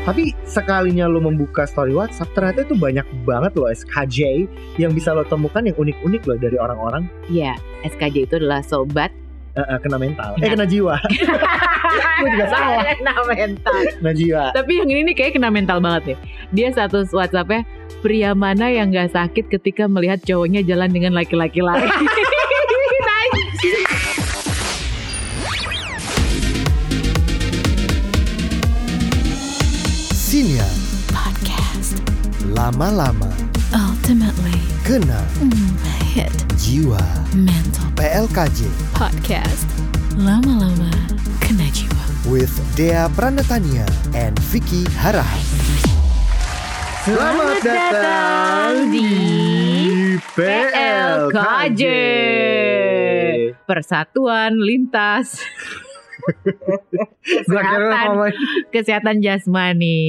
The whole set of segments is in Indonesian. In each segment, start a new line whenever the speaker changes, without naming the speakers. Tapi sekalinya lo membuka story WhatsApp, ternyata itu banyak banget loh SKJ yang bisa lo temukan yang unik-unik loh dari orang-orang
Iya, SKJ itu adalah sobat
eh, eh, kena mental. Eh
Iya.
kena jiwa, Gua juga salah.
Kena mental.
kena jiwa.
Tapi yang ini nih kayak kena mental banget ya. Dia satu WhatsAppnya pria mana yang gak sakit ketika melihat cowoknya jalan dengan laki-laki lain. Nice.
Sinia
Podcast
lama-lama
ultimately
kena
mm, hit
jiwa
mental
PLKJ
podcast. Lama-lama kena jiwa.
with Dea Pranatania and Vicky Harahan.
Selamat
Selamat datang
datang di
PLKJ.
PLKJ.
Persatuan lintas
Gua kira lo
kesehatan,
ngomong-
kesehatan jasmani.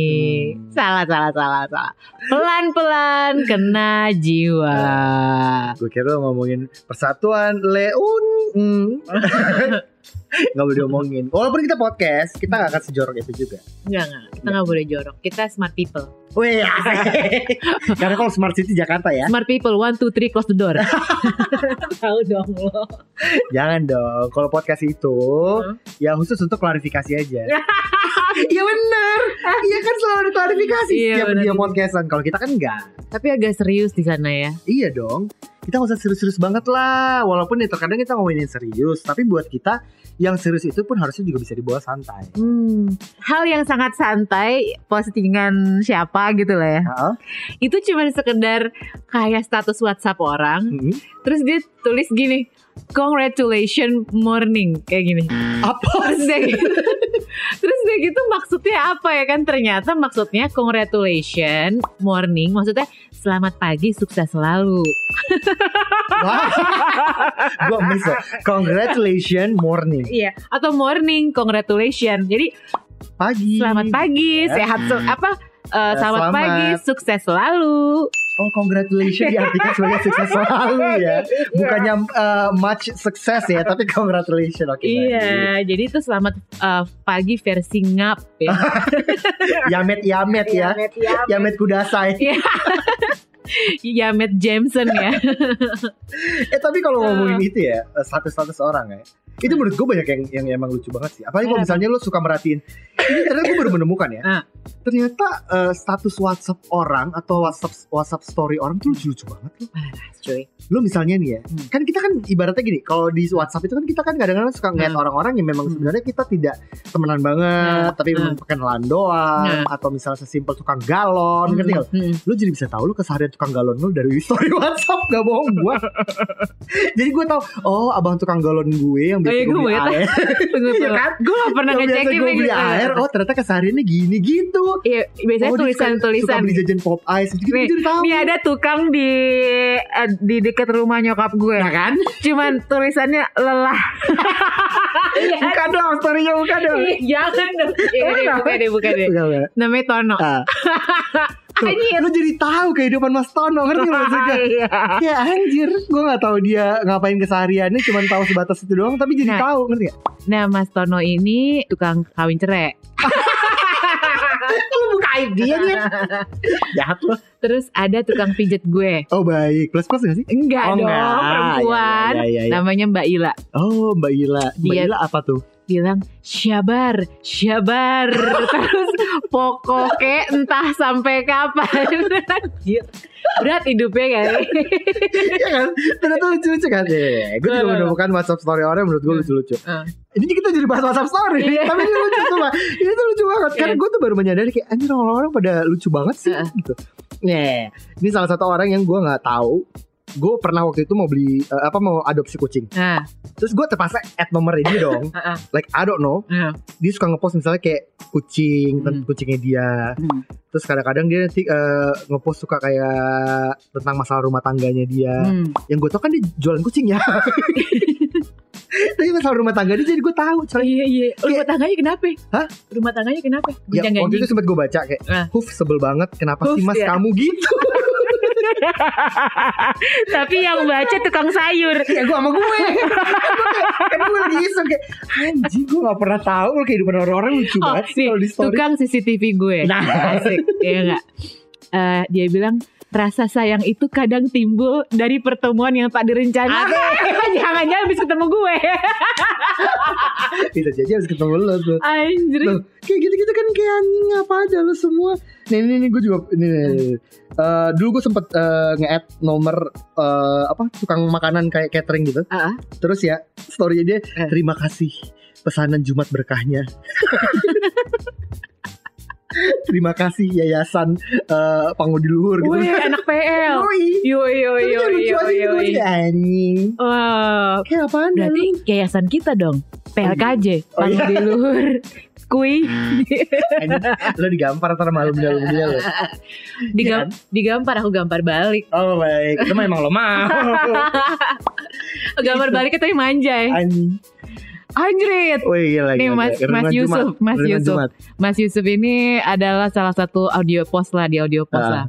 Hmm.
Salah, salah, salah, salah. Pelan-pelan kena jiwa.
Gue kira lo ngomongin persatuan Leun. Mm. Gak boleh diomongin. Walaupun kita podcast, kita gak akan sejorok itu juga.
Enggak, enggak. Kita nggak boleh jorok. Kita smart people.
Wih, asik. karena kalau Smart City Jakarta ya,
Smart people, one, two, three, close the door. Tahu dong lo.
jangan dong. Kalau podcast itu,
Hmm.
ya khusus untuk klarifikasi aja. Iya bener, Ya, iya kan selalu ada klarifikasi
Iya,
setiap
bener.
dia podcastan. Kalau kita kan enggak.
Tapi agak serius di sana ya.
Iya dong. Kita nggak usah serius-serius banget lah. Walaupun ya terkadang kita ngomongin serius, tapi buat kita yang serius itu pun harusnya juga bisa dibawa santai.
Hmm, hal yang sangat santai postingan siapa gitu lah ya.
Heeh.
Itu cuma sekedar kayak status WhatsApp orang,
Mm-mm.
terus dia tulis gini, "Congratulations morning" kayak gini.
Apa?
Terus dia gitu. terus dia gitu maksudnya apa ya kan? Ternyata maksudnya congratulations morning, maksudnya selamat pagi, sukses selalu.
Wah. Gua miss loh. Congratulations morning.
Iya, atau morning congratulations. Jadi
Pagi.
selamat pagi,
Ya.
sehat se- apa eh, selamat,
selamat.
pagi, sukses selalu.
Oh, congratulations diartikan sebagai sukses selalu ya. Bukannya eh, much success ya, tapi congratulations. Oke. baik.
Iya, jadi itu selamat eh, pagi versi ngap ya.
Yamet yamet ya. Yamet kudasai.
Yamet Iya, Jameson ya.
Eh tapi kalau ngomongin itu ya eh, status-status orang ya, itu menurut gue banyak yang yang emang lucu banget sih. Apalagi kalau
Kenapa?
misalnya lo suka merhatiin, ini ternyata gue baru menemukan ya.
Ah.
Ternyata eh, status WhatsApp orang atau WhatsApp WhatsApp story orang tuh lucu-lucu banget loh.
Parah cuy.
Lo misalnya nih ya,
Hmm.
kan kita kan ibaratnya gini, kalau di WhatsApp itu kan kita kan kadang-kadang suka ngeliat orang-orang yang memang
Hmm.
sebenarnya kita tidak temenan banget, tapi memang perkenalan
Hmm.
doang, atau misalnya sesimpel tukang galon, ngerti nggak?
Mm-mm.
lu jadi bisa tahu lu keseharian tukang galon lu dari story WhatsApp gak bohong gua. jadi gua tahu oh abang tukang galon gue yang biasa
Oh, iya,
gue
gua
beli
banget.
air.
Tunggu
Iya
tunggu.
kan?
Gue gak pernah
Yang biasa
ngecekin
gue
nih,
beli
gitu.
air, oh ternyata kesehariannya gini gitu.
Iya,
oh,
biasanya
dia suka-
tulisan-tulisan.
Suka beli jajan pop ice gitu,
Nih,
gitu jadi tahu.
Ini ada tukang di eh, di dekat rumah nyokap gue
Iya
kan. Cuman tulisannya lelah. Iya.
Buka dong storynya buka dong.
Ih, Jangan dong. Iya,
Oh,
deh,
kenapa?
bukan deh, bukan deh.
Buka, buka.
Namanya Tono.
Ah. Tuh, lu jadi tahu kehidupan Mas Tono ngerti nggak maksudnya?
Iya.
Ya anjir, gue gak tahu dia ngapain kesehariannya, cuman tahu sebatas itu doang, tapi jadi
Nah.
tahu ngerti gak?
Nah, Mas Tono ini tukang kawin cerai.
Lu buka aib dia nih. Jahat lu.
Terus ada tukang pijet gue.
Oh baik, plus plus gak sih?
Enggak
Oh,
dong,
enggak.
perempuan.
Ya, ya,
Nah. Iya.
ya, ya.
Namanya Mbak Ila.
Oh Mbak Ila, Mbak
Dia-
Ila apa tuh?
Bilang, syabar, syabar. Terus pokoknya entah sampai kapan. Anjir. Berat hidupnya kan.
Iya kan? Ternyata lucu-lucu kan? Nah. Iya, gue juga
Betul.
menemukan WhatsApp story orang menurut gue
Hmm.
lucu-lucu.
Hmm.
Ini kita jadi bahas WhatsApp story,
Iya.
tapi ini lucu tuh Mbak. Ini tuh lucu banget. Karena
Iya.
gue tuh baru menyadari kayak anjir orang-orang pada lucu banget sih
Heeh.
gitu. Nih, ini salah satu orang yang gue nggak tahu. Gue pernah waktu itu mau beli eh, apa mau adopsi kucing.
Nah,
Terus gue terpaksa add nomor ini dong.
Heeh.
like I don't know.
Heeh.
Dia suka ngepost misalnya kayak kucing, tentang kucingnya dia.
Hmm.
Terus kadang-kadang dia nanti eh, ngepost suka kayak tentang masalah rumah tangganya dia.
Hmm.
Yang gue tau kan dia jualan kucing ya. Tapi masalah rumah tangga dia jadi gue tahu. Soalnya
Iya iya. Rumah tangganya kenapa?
Hah?
Rumah tangganya kenapa?
ya,
Gunjang
waktu itu
ganjing.
sempat gue baca kayak,
Ah.
Huf sebel banget kenapa sih
Huf,
mas
ya."
kamu gitu.
Tapi yang baca tukang sayur.
Ya gue sama gue Kan gue lagi iseng kayak Anjing gue gak pernah tahu loh kehidupan orang-orang lucu
Oh,
banget sih
nih,
kalau di story
tukang CCTV gue.
Nah.
Asik, iya enggak? dia bilang rasa sayang itu kadang timbul dari pertemuan yang tak direncanakan. Jangan-jangan habis ketemu gue.
Bisa jadi harus ketemu lo tuh
Anjir.
Loh, kayak gitu-gitu kan kayak anjing apa ada lo semua Nih nih nih gue juga Nih nih, nih, nih. Eh, Dulu gue sempet eh, nge-add nomor eh, Apa tukang makanan kayak catering gitu
Ah.
Terus ya story dia
Eh.
Terima kasih pesanan Jumat berkahnya Terima kasih yayasan eh, Pangudi Luhur gitu
Wih, anak PL.
Yoi.
Yo yo
Tapi
yo
kayak lucu aja
yo
gitu
yo.
gue juga, anjing
Wow.
Kayak apaan ya
Berarti
lu?
yayasan kita dong.
Oh,
PLKJ,
iya.
Panggung di luhur. Kui
Anjing, Lo digampar ntar malam dia dia lo Iya.
digam, digampar aku gampar balik.
Oh baik Itu mah emang lo mau
Gampar
Gitu.
baliknya tapi manjai.
Anjing
Anjrit.
Wih gila
Nih
gila, gila.
Mas Mas
Renungan
Yusuf,
Jumat.
Mas
Renungan
Yusuf.
Jumat. Oh,
Mas Yusuf ini adalah salah satu audio post lah di audio post
Ah.
lah.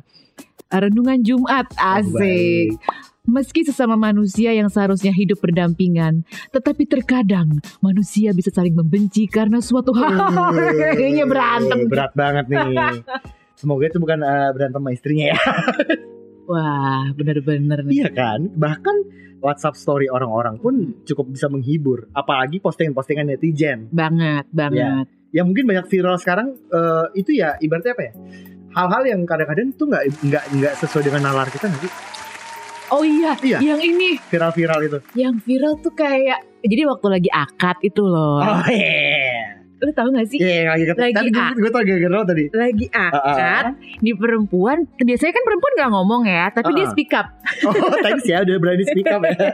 Renungan Jumat asik.
Baik.
Meski sesama manusia yang seharusnya hidup berdampingan, tetapi terkadang manusia bisa saling membenci karena suatu hal.
Oh.
Kayaknya berantem.
Berat banget nih Semoga itu bukan eh, berantem sama istrinya ya
Wah, bener-bener nih.
Iya kan Bahkan WhatsApp story orang-orang pun cukup bisa menghibur Apalagi postingan-postingan netizen
Banget, banget.
yang mungkin banyak viral sekarang eh, itu ya ibaratnya apa ya hal-hal yang kadang-kadang tuh nggak nggak nggak sesuai dengan nalar kita nanti
Oh iya,
Iya.
yang ini,
viral-viral itu
yang viral tuh kayak jadi waktu lagi akad itu loh.
oh iya
Lu tahu gak sih?
iya Ah, yang lagi
Lagi ah.
tadi gue,
ak-
gue tau gara-gara lo tadi
Lagi akad di perempuan, biasanya kan perempuan gak ngomong ya, tapi dia
Ah.
speak up.
oh thanks ya udah berani speak up ya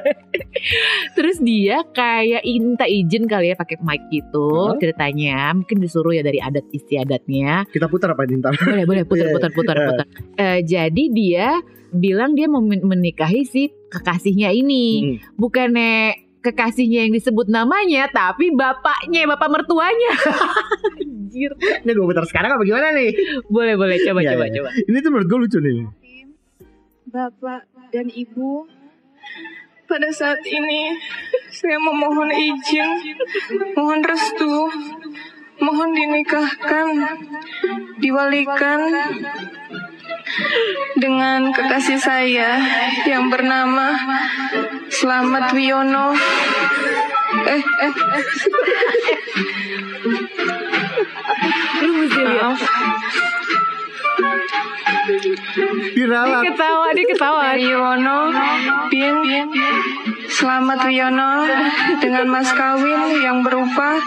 Terus dia kayak minta izin kali ya pakai mic gitu
Hah?
ceritanya. Mungkin disuruh ya dari adat istiadatnya.
kita putar apa nih ntar
Boleh boleh putar
Iya.
putar putar putar. Eh, jadi dia bilang dia mau men- menikahi si kekasihnya ini.
Hmm.
Bukannya kekasihnya yang disebut namanya tapi bapaknya, bapak mertuanya. Anjir.
ini gue putar sekarang apa gimana nih
Boleh boleh coba
Iya,
coba
iya.
coba.
ini tuh menurut gue lucu nih
Bapak dan Ibu, pada saat ini saya memohon izin, mohon restu, mohon dinikahkan, diwalikan dengan kekasih saya yang bernama Slamet Wiono. Eh, eh,
Lu mesti lihat.
maaf,
viral
Dia ketawa, dia ketawa.
Wiono bin Slamet Wiono dengan mas kawin yang berupa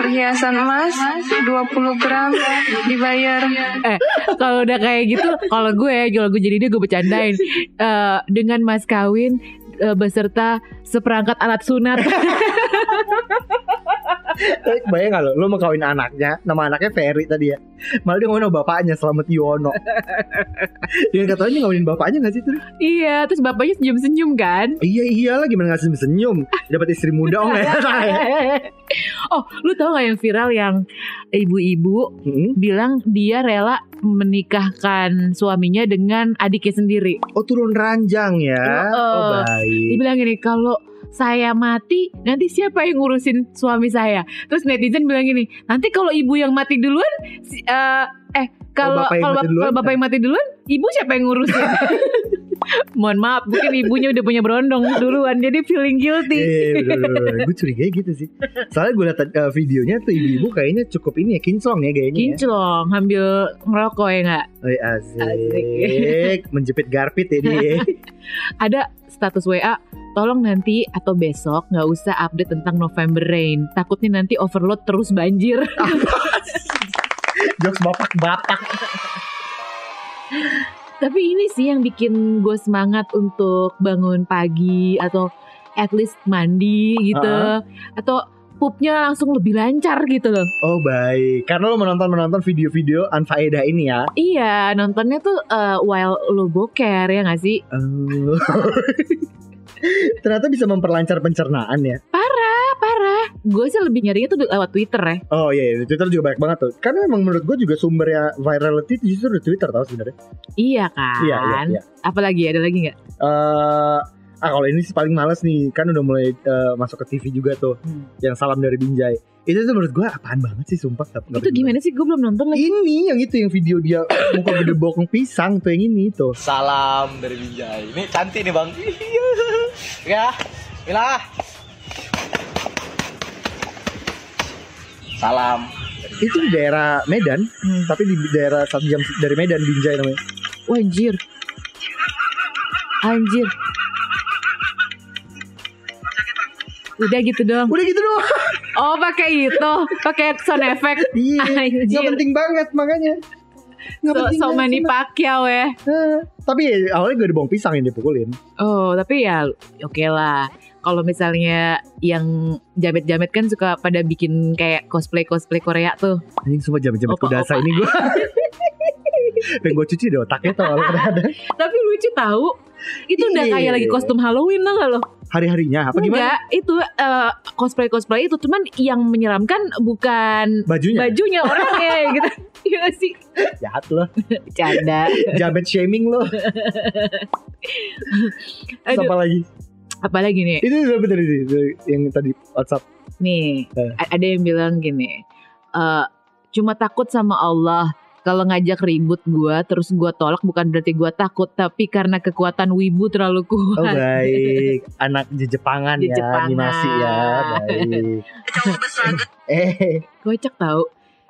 perhiasan emas 20 gram dibayar
eh kalau udah kayak gitu kalau gue kalau gue jadi dia gue bercandain Eh, dengan mas kawin eh, beserta seperangkat alat sunat
Eh, bayang gak lo lo mau kawin anaknya nama anaknya Ferry tadi ya malah dia ngomongin sama bapaknya Selamat Yono dia katanya ngomongin bapaknya gak sih tuh
iya terus bapaknya senyum senyum kan
Iya iyalah gimana ngasih senyum Dapat istri muda oh ya
oh lu tau gak yang viral yang ibu-ibu
Hmm?
bilang dia rela menikahkan suaminya dengan adiknya sendiri
Oh turun ranjang ya Oh
Heeh. dia
baik
bilang gini kalau saya mati nanti siapa yang ngurusin suami saya terus netizen bilang gini nanti kalau ibu yang mati duluan si- eh, eh kalau
Kalau bapak yang
kalau
mati duluan,
bap-
ya?"
kalau bapak yang mati duluan ibu siapa yang ngurusin mohon maaf mungkin ibunya udah punya berondong duluan jadi feeling guilty
Eh, gue curiga gitu sih. Soalnya gue liat eh, videonya tuh ibu-ibu kayaknya cukup ini ya kinclong ya gayanya. Ya.
kinclong ambil ngerokok ya nggak
Oi, asik. Menjepit garpit ya dia.
ada status WA tolong nanti atau besok nggak usah update tentang November rain takutnya nanti overload terus banjir
Jokes bapak-bapak.
Tapi ini sih yang bikin gue semangat untuk bangun pagi atau at least mandi gitu atau pupnya langsung lebih lancar gitu loh.
Oh baik. Karena lo menonton menonton video-video anfaedah ini ya.
Iya, nontonnya tuh eh, while lo boker ya gak sih?
Oh. Ternyata bisa memperlancar pencernaan ya.
Parah. parah parah. Gue sih lebih nyarinya tuh lewat Twitter ya.
Oh iya, iya, di Twitter juga banyak banget tuh. Karena emang menurut gue juga sumbernya virality itu justru di Twitter tau sebenarnya.
Iya kan.
Iya, iya, iya.
Apalagi ada lagi nggak?
Eh, ah kalau ini sih paling males nih, kan udah mulai eh, masuk ke TV juga tuh,
Hmm.
yang salam dari Binjai. Itu tuh menurut gue apaan banget sih sumpah. Nggak- nggak
Itu
penting
gimana sih? Gue belum nonton lagi.
Ini yang itu yang video dia muka gede bokong pisang tuh yang ini tuh.
Salam dari Binjai. Ini cantik nih bang. Iya. ya, Mila. Salam.
Itu di daerah Medan,
Hmm.
tapi di daerah satu jam dari Medan Binjai namanya.
Wah, anjir. Anjir. Udah gitu dong.
Udah gitu doang.
Oh, pakai itu, pakai sound effect.
Iya. Gak
Anjir.
penting banget makanya. Nggak
So,
penting
so
banget,
many
cuma-
Pacquiao ya.
Eh, Tapi ya, awalnya gue bawang pisang yang dipukulin.
Oh, tapi ya oke lah. Kalau misalnya yang jamet-jamet kan suka pada bikin kayak cosplay-cosplay Korea tuh.
Anjing semua jamet-jamet
Opa,
kudasa ini gue. Dan gue cuci deh otaknya tuh kalau kadang-kadang.
Tapi lucu tahu. Itu udah
Iya.
kayak lagi kostum Halloween tau gak lo?
Hari-harinya apa gimana?
Enggak, itu eh, cosplay-cosplay itu cuman yang menyeramkan bukan
Bajunya.
bajunya orangnya gitu. Iya gak sih?
Jahat loh.
Bercanda.
Jamet shaming loh. Terus
Aduh,
Apa lagi?
apalagi nih?
Itu udah bener itu itu yang tadi WhatsApp.
Nih,
Eh.
a- ada yang bilang gini. eh cuma takut sama Allah. Kalau ngajak ribut gua terus gua tolak bukan berarti gua takut tapi karena kekuatan wibu terlalu
Oh
kuat.
baik, anak jejepangan ya,
Jejepangan.
animasi ya, baik. eh,
Kocak tahu.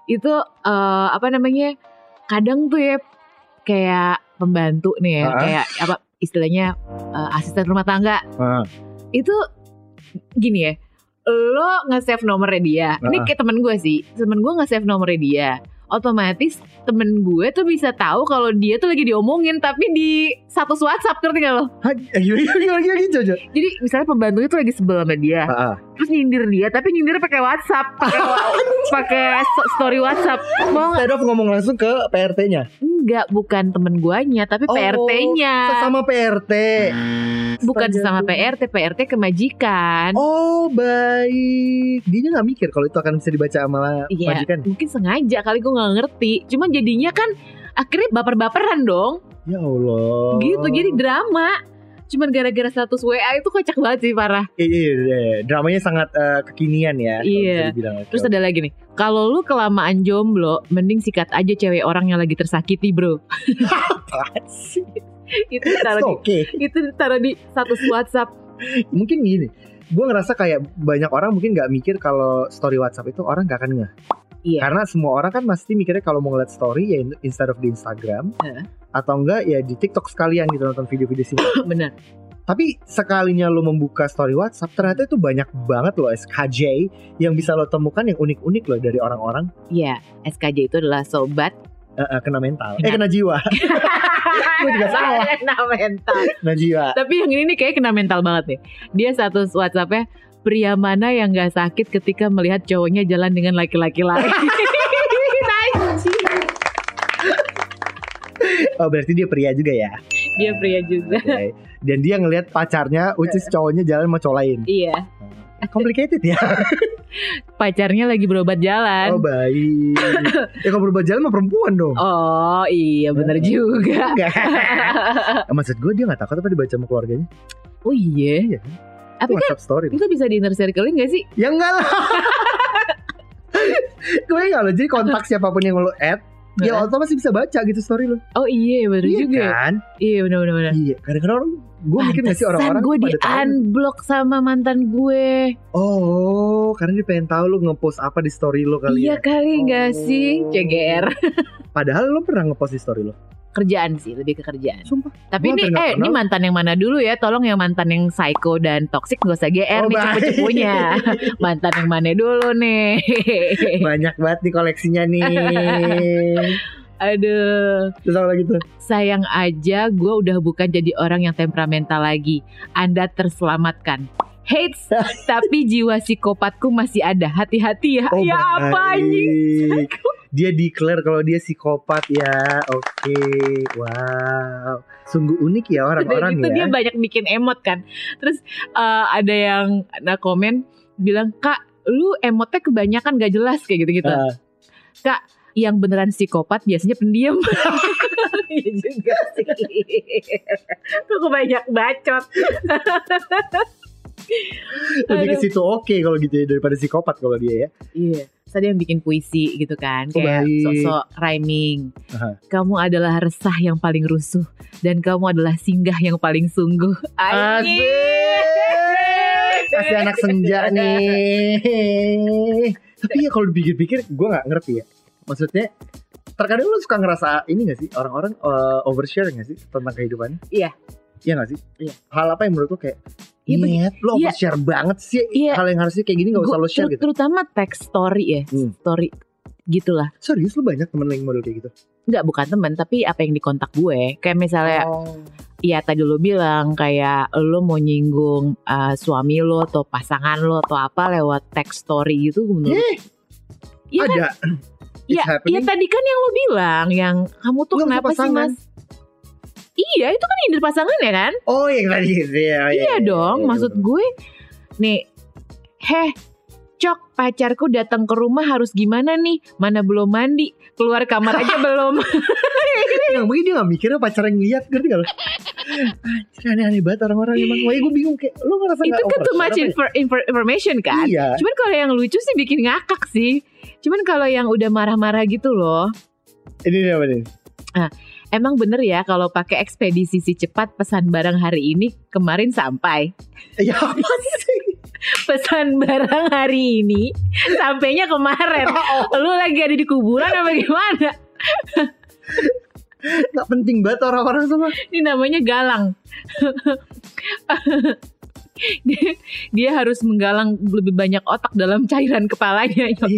Itu eh, apa namanya? Kadang tuh ya kayak pembantu nih ya,
Ah.
kayak apa istilahnya eh, asisten rumah tangga
ah,
itu gini ya lo nge-save nomornya dia ini
Heeh.
kayak temen gue sih temen gue nge-save nomornya dia otomatis temen gue tuh bisa tahu kalau dia tuh lagi diomongin tapi di satu WhatsApp ngerti gak lo
Hah, eh, gimana gimana gimana gimana, Jojo?
jadi misalnya pembantunya tuh lagi sebelah sama dia
Ah, ah.
terus nyindir dia tapi nyindir pakai WhatsApp pakai pakai so- story WhatsApp mau nggak
Instead of ngomong langsung ke PRT-nya.
Enggak, bukan temen guanya tapi
Oh,
PRT-nya
Sama PRT.
Hmm. bukan sesama
Astaga.
PRT PRT kemajikan
Oh baik, dia nggak mikir kalau itu akan bisa dibaca sama
Iya.
majikan.
mungkin sengaja kali gue nggak ngerti cuman jadinya kan akhirnya baper-baperan dong
Ya Allah.
gitu jadi drama cuman gara-gara status WA itu kocak banget sih parah
Iya, iya, iya, iya. dramanya sangat eh, kekinian ya. kalau
Iya.
bisa dibilang.
terus ada lagi nih kalau lu kelamaan jomblo mending sikat aja cewek orang yang lagi tersakiti bro itu
Oke,
taruh di itu taruh di status WhatsApp
mungkin gini. Gue ngerasa kayak banyak orang mungkin nggak mikir kalau story WhatsApp itu orang nggak akan ngeh.
Iya.
Karena semua orang kan pasti mikirnya kalau mau ngeliat story ya in- instead of di Instagram
Heeh.
atau enggak ya di TikTok sekalian gitu nonton video-video sini.
bener
Tapi sekalinya lo membuka story WhatsApp ternyata itu banyak banget loh SKJ yang bisa lo temukan yang unik-unik loh dari orang-orang
Iya, SKJ itu adalah sobat
eh, eh, kena mental, eh
Kena-
kena jiwa, Gua juga salah.
kena Nah, mental.
kena jiwa.
Tapi yang ini nih kayak kena mental banget nih. Dia status WhatsAppnya pria mana yang gak sakit ketika melihat cowoknya jalan dengan laki-laki lain. Anjing.
Oh berarti dia pria juga ya.
Dia pria juga.
Oke. Dan dia ngelihat pacarnya, which is cowoknya jalan sama cowok lain.
Iya.
Complicated ya.
Pacarnya lagi berobat
Oh
jalan.
baik. ya kalau berubah jalan sama perempuan dong.
Kan? Oh iya
Eh.
bener juga.
Enggak. Eh, Maksud gue dia gak takut apa dibaca sama keluarganya
Oh iya.
Iya.
Tapi kan
WhatsApp story
itu bisa di inner circle-in gak sih?
Ya enggak lah Gue enggak loh Jadi kontak siapapun yang lo add Ya
Heeh.
otomatis bisa baca gitu story lo
Oh iya bener juga.
kan
Iya bener-bener. bener.
Iya Kadang-kadang orang Gue mikir gak sih orang-orang
gue
tuh
di
pada tahu.
unblock sama mantan gue.
Oh Karena dia pengen tahu lo ngepost apa di story lo kali ya
iya kali
Oh.
gak sih? CGR.
Padahal lo pernah ngepost di story lo
kerjaan sih lebih ke kerjaan.
Sumpah
Tapi
Gua
ini
hampir nggak
eh
pernah.
ini mantan yang mana dulu ya? Tolong yang mantan yang psycho dan toxic gak usah GR
Oh,
nih
baik.
cepu-cepunya. mantan yang mana dulu nih?
Banyak banget nih koleksinya nih
Aduh,
Terus apa gitu? lagi tuh
sayang aja gue udah bukan jadi orang yang temperamental lagi. Anda terselamatkan. Hates, tapi jiwa psikopatku masih ada. Hati-hati ya.
Oh
ya apa anjing?
baik. Dia declare kalau dia psikopat ya. Oke. Wow. Sungguh unik ya
Udah
orang-orang
gitu
ya.
dia banyak bikin emot kan. Terus eh, ada yang ada komen bilang kak lu emotnya kebanyakan gak jelas kayak gitu gitu
Ah,
yang beneran psikopat biasanya pendiam Iya juga sih Tuh banyak bacot
lebih ke
Aduh.
situ oke kalau gitu ya daripada psikopat kalau dia ya.
Iya Terus ada yang bikin puisi gitu kan
Oh,
Kayak
baik.
sosok rhyming
Aha.
Kamu adalah resah yang paling rusuh Dan kamu adalah singgah yang paling sungguh Anjing.
Pasti anak senja nih. Tapi ya kalau dipikir-pikir gue nggak ngerti ya. Maksudnya terkadang lu suka ngerasa ini gak sih orang-orang eh, overshare gak sih tentang kehidupannya?
Iya.
Iya gak sih?
Iya.
Hal apa yang menurut lu kayak
Iya, bagi-
Nyet, lo
iya.
overshare banget sih
Iya.
Hal yang harusnya kayak gini gak usah
Gua-
lo share
ter-
gitu
Terutama text story ya
Hmm.
Story gitulah
Serius lu banyak temen lo yang model kayak gitu
Enggak bukan teman Tapi apa yang di kontak gue Kayak misalnya
oh.
ya tadi lo bilang kayak lo mau nyinggung uh, suami lo atau pasangan lo atau apa lewat text story gitu menurut
Eh,
Iya kan?
ada It's
Ya,
happening.
ya tadi kan yang lo bilang yang kamu tuh
Nggak
kenapa
punya
sih
pasangan.
mas? Iya itu kan nyindir pasangan ya kan?
Oh yang tadi itu ya,
iya dong maksud gue nih heh Cok pacarku datang ke rumah harus gimana nih? Mana belum mandi? Keluar kamar aja belum.
Yang Iya, mungkin dia gak mikirnya pacar yang lihat Ngerti gak lo? Anjir aneh-aneh banget orang-orang emang Makanya gue bingung kayak Lo ngerasa
itu
gak
kan
overshare
too much
apa ya?
infor- infor- information kan?
Iya
Cuman kalau yang lucu sih bikin ngakak sih. Cuman kalau yang udah marah-marah gitu loh,
Ini dia apa nih?
emang bener ya kalau pakai ekspedisi si cepat pesan barang hari ini kemarin sampai.
Ya apa sih?
Pesan barang hari ini sampainya kemarin.
Oh.
Lu lagi ada di kuburan apa gimana?
Gak penting banget orang-orang semua
Ini namanya galang. dia, dia harus menggalang lebih banyak otak dalam cairan kepalanya. Nyok.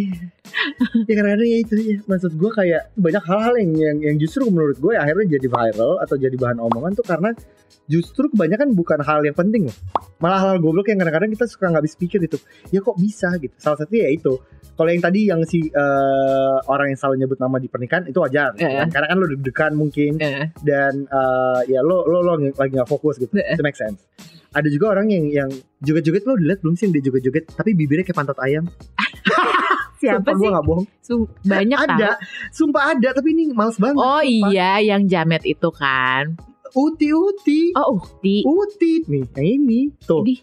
Ya kadang-kadang ya itu ya Maksud gue kayak Banyak hal-hal yang, yang yang justru menurut gue Akhirnya jadi viral Atau jadi bahan omongan tuh karena Justru kebanyakan bukan hal yang penting loh Malah hal goblok yang kadang-kadang kita suka nggak habis pikir gitu Ya kok bisa gitu Salah satunya ya itu Kalau yang tadi yang si eh, Orang yang selalu nyebut nama di pernikahan Itu wajar
Iya,
gitu kan. Karena kan lo deg-degan mungkin
Eh,
dan eh, ya lo lo lo nge- lagi nggak fokus gitu.
Heeh.
Itu make sense. Ada juga orang yang yang joget-joget lo dilihat belum sih yang dia joget-joget tapi bibirnya kayak pantat ayam.
Siapa
Sumpah,
sih?
Gue gak bohong.
Sum- banyak tahu.
ada. Sumpah ada tapi ini males banget.
Oh iya, yang jamet itu kan.
Uti uti.
Oh Ukti.
Uti nih yang ini tuh.
Ini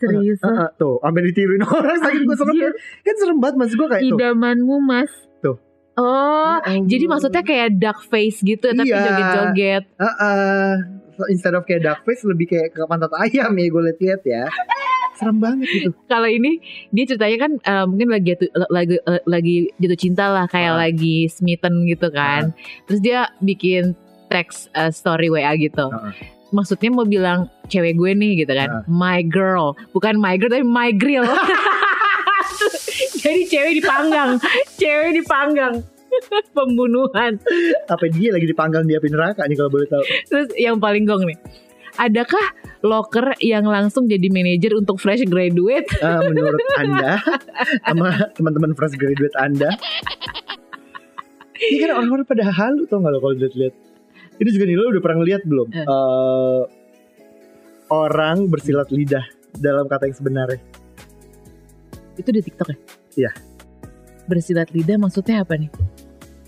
serius.
Oh. Heeh, tuh, sampai ditiruin orang sakit gue serem
Anjir.
kan serem banget maksud gue kayak tuh.
Idamanmu mas.
Tuh.
Oh,
Ya
jadi
Allah.
maksudnya kayak duck face gitu ya, tapi
Iya.
joget-joget.
Heeh. So, instead of kayak duck face lebih kayak ke pantat ayam ya gue liat-liat ya. Serem banget gitu.
Kalau ini dia ceritanya kan eh, mungkin lagi jatuh, lagi eh, lagi jatuh cinta lah, kayak
Ah.
lagi smitten gitu kan. Terus dia bikin text eh, story WA gitu.
Ah.
Maksudnya mau bilang cewek gue nih gitu kan, my girl, bukan my girl tapi my grill. Jadi cewek dipanggang, cewek dipanggang, pembunuhan.
Apa dia lagi dipanggang di api neraka nih kalau boleh tahu.
Terus yang paling gong nih. Adakah locker yang langsung jadi manajer untuk fresh graduate?
Eh, menurut Anda sama teman-teman fresh graduate Anda. Ini kan orang-orang pada halu tau gak lo kalau lihat-lihat. Ini juga nih lo udah pernah lihat belum?
Eh.
Eh, orang bersilat lidah dalam kata yang sebenarnya.
Itu di TikTok ya?
Iya.
Bersilat lidah maksudnya apa nih?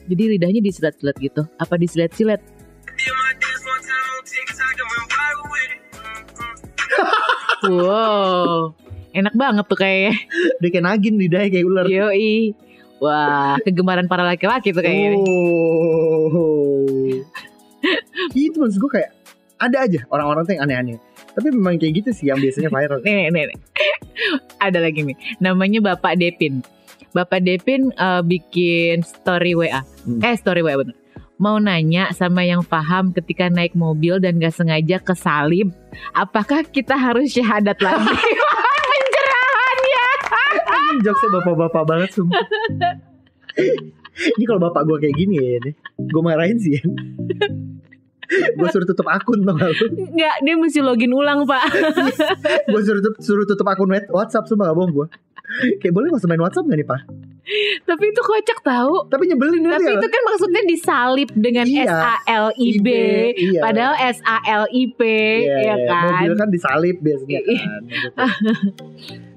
Jadi lidahnya disilat-silat gitu? Apa disilat-silat? wow. Enak banget tuh kayaknya.
Dia kayak nagin lidahnya kayak ular.
Iya, Yoi. Wah, kegemaran para laki-laki tuh kayaknya. nih.
Oh. Itu maksud gue kayak ada aja orang-orang tuh yang aneh-aneh. Tapi memang kayak gitu sih yang biasanya viral.
Nih, nih, nih. Ada lagi nih. Namanya Bapak Depin. Bapak Depin eh, bikin story WA.
Hmm.
Eh, story WA bener. Mau nanya sama yang paham ketika naik mobil dan gak sengaja kesalib, apakah kita harus syahadat lagi? Pencerahannya.
Ini Kan jokesnya bapak-bapak banget sumpah Ini kalau bapak gue kayak gini ya ini Gue marahin sih ya Gue suruh tutup akun tau
Nggak, dia mesti login ulang, Pak.
Gue suruh tutup, suruh tutup akun wet- Whatsapp sumpah gak bohong gue Kayak boleh gak usah main Whatsapp gak nih pak
Tapi itu kocak tahu.
Tapi nyebelin
Tapi
nanti
itu kan maksudnya disalib dengan
Iya.
S A L I B. Padahal S
Iya,
A L I P, ya
gitu.
kan?
Mobil kan disalip biasanya kan Maksudnya.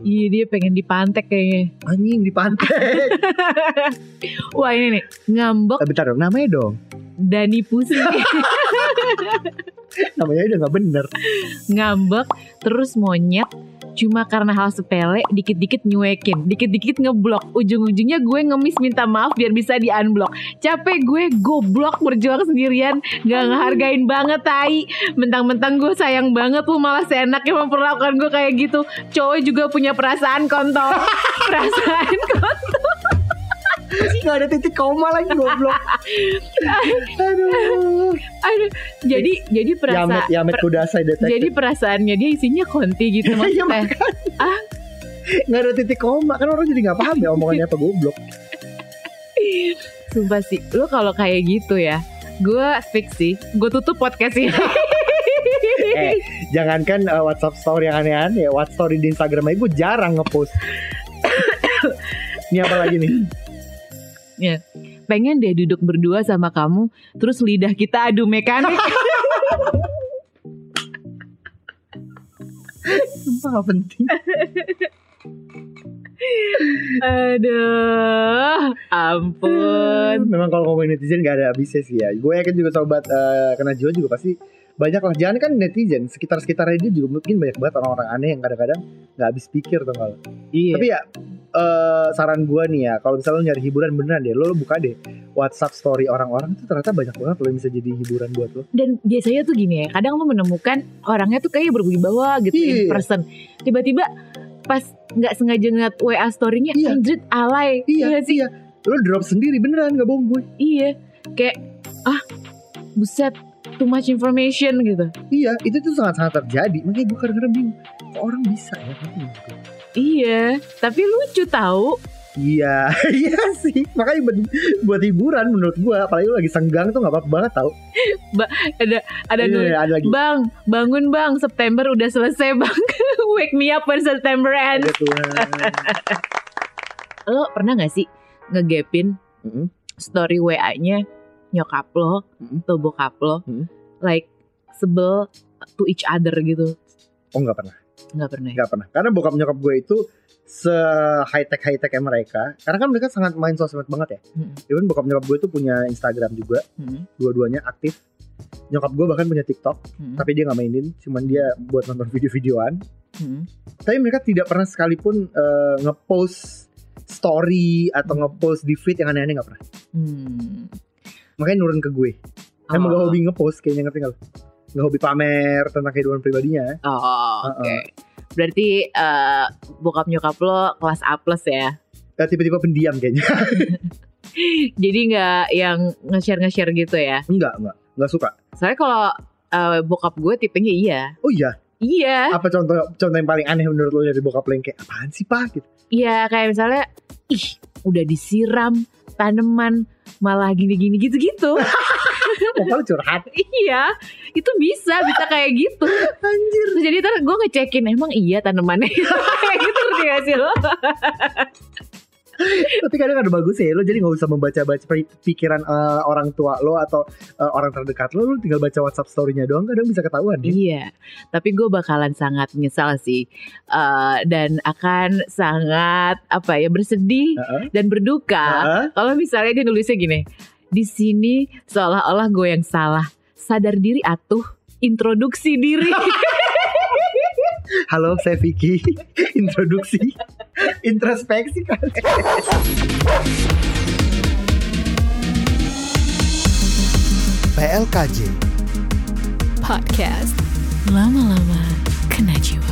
Iya dia pengen dipantek kayaknya.
Anjing di pantai.
Wah ini nih ngambek
Eh, Bentar dong, namanya dong.
Dani pusing
Namanya udah nggak bener.
ngambek terus monyet cuma karena hal sepele dikit-dikit nyuekin dikit-dikit ngeblok ujung-ujungnya gue ngemis minta maaf biar bisa di unblock capek gue goblok berjuang sendirian gak ngehargain banget tai mentang-mentang gue sayang banget lu malah seenaknya memperlakukan gue kayak gitu cowok juga punya perasaan kontol perasaan kontol
Gak ada titik koma lagi goblok. Aduh.
Aduh, jadi jadi
Yamet
perasaan
Yamet kuda saya
jadi
detektif.
perasaannya dia isinya konti gitu
Iya,
maksudnya
Gak ada titik koma kan orang jadi nggak paham ya omongannya apa goblok.
Sumpah sih, lu kalau kayak gitu ya, gue fix sih, gue tutup podcast ini.
Eh, jangankan eh, WhatsApp story yang aneh-aneh, ya, WhatsApp story di Instagram aja gue jarang ngepost. Ini apa lagi nih?
Pengen deh duduk berdua sama kamu, terus lidah kita adu mekanik.
Sumpah gak penting.
Aduh, ampun.
Memang kalau ngomongin netizen gak ada habisnya sih ya. Gue yakin juga sobat eh, kena jiwa juga pasti banyak lah. Jangan kan netizen, sekitar-sekitarnya dia juga mungkin banyak banget orang-orang aneh yang kadang-kadang gak habis pikir tuh kalau.
Iya.
Tapi ya eh, saran gue nih ya, kalau misalnya lo nyari hiburan beneran deh, lo, lo buka deh WhatsApp story orang-orang tuh ternyata banyak banget lo yang bisa jadi hiburan buat lo.
Dan biasanya tuh gini ya, kadang lu menemukan orangnya tuh kayaknya berwibawa gitu in
Hmm. Iya.
person. Tiba-tiba pas nggak sengaja ngeliat WA story-nya,
Iya.
Andrit alay.
Iya,
nggak sih?
iya. Lo drop sendiri beneran gak bohong gue.
Iya. Kayak, ah, buset, too much information gitu.
Iya, itu tuh sangat-sangat terjadi. Makanya gue kadang-kadang bingung, kok orang bisa ya? Ngerti nggak gue?
Iya, tapi lucu tahu.
Iya, iya sih. Makanya buat, buat hiburan menurut gue, apalagi lu lagi senggang tuh gak apa-apa banget tau.
Ada
Iya,
nulis,
ada lagi.
Bang, bangun bang, September udah selesai bang. Wake me up when September
Ya
ends.
Tuhan.
Lo pernah gak sih ngegapin
Mm-mm.
story WA-nya nyokap lo
Mm-mm.
atau bokap lo?
Mm-mm.
Like sebel to each other gitu.
oh nggak pernah,
Nggak pernah. ya?
nggak pernah. Karena bokap nyokap gue itu se high tech high tech mereka. Karena kan mereka sangat main sosmed banget ya.
Mm-mm.
Even bokap nyokap gue itu punya Instagram juga,
Mm-mm.
dua-duanya aktif. Nyokap gue bahkan punya TikTok,
Mm-mm.
tapi dia nggak mainin, cuman dia buat nonton video-videoan.
Mm-mm.
tapi mereka tidak pernah sekalipun eh, ngepost story atau ngepost di feed yang aneh-aneh nggak pernah
Hmm.
makanya nurun ke gue emang gak
Oh.
hobi ngepost kayaknya ngerti nggak lo? nggak hobi pamer tentang kehidupan pribadinya
Oh, oke. Berarti eh, bokap nyokap lo kelas A plus ya?
Eh, tiba-tiba pendiam kayaknya
Jadi nggak yang nge-share nge-share gitu ya.
enggak enggak enggak suka
Soalnya kalau eh, bokap gue tipenya iya.
oh iya
Iya.
apa contoh contoh yang paling aneh menurut lo dari bokap lo yang kayak apaan sih pak gitu
Iya kayak misalnya ih udah disiram tanaman malah gini-gini gitu-gitu.
pokoknya curhat
iya, itu bisa bisa kayak gitu.
anjir
Terus jadi ntar gue ngecekin emang iya tanamannya kayak gitu ngerti gak sih lo?
tapi kadang ada bagusnya ya lo jadi nggak usah membaca-baca pri- pikiran eh, orang tua lo atau eh, orang terdekat lo lo tinggal baca WhatsApp story-nya doang kadang bisa ketahuan ya
Iya, tapi gue bakalan sangat menyesal sih Eh, dan akan sangat apa ya bersedih
Heeh.
dan berduka
Heeh.
Kalau misalnya dia nulisnya gini, di sini seolah-olah gue yang salah. Sadar diri atuh, introduksi diri.
Halo, saya Vicky. Introduksi, introspeksi kan.
PLKJ
Podcast Lama Lama Kanajiwa.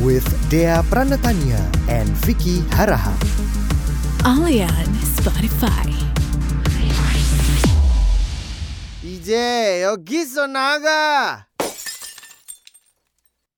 with Dea Pranatania and Vicky Haraha.
Only on Spotify.
DJ Yogi Sonaga.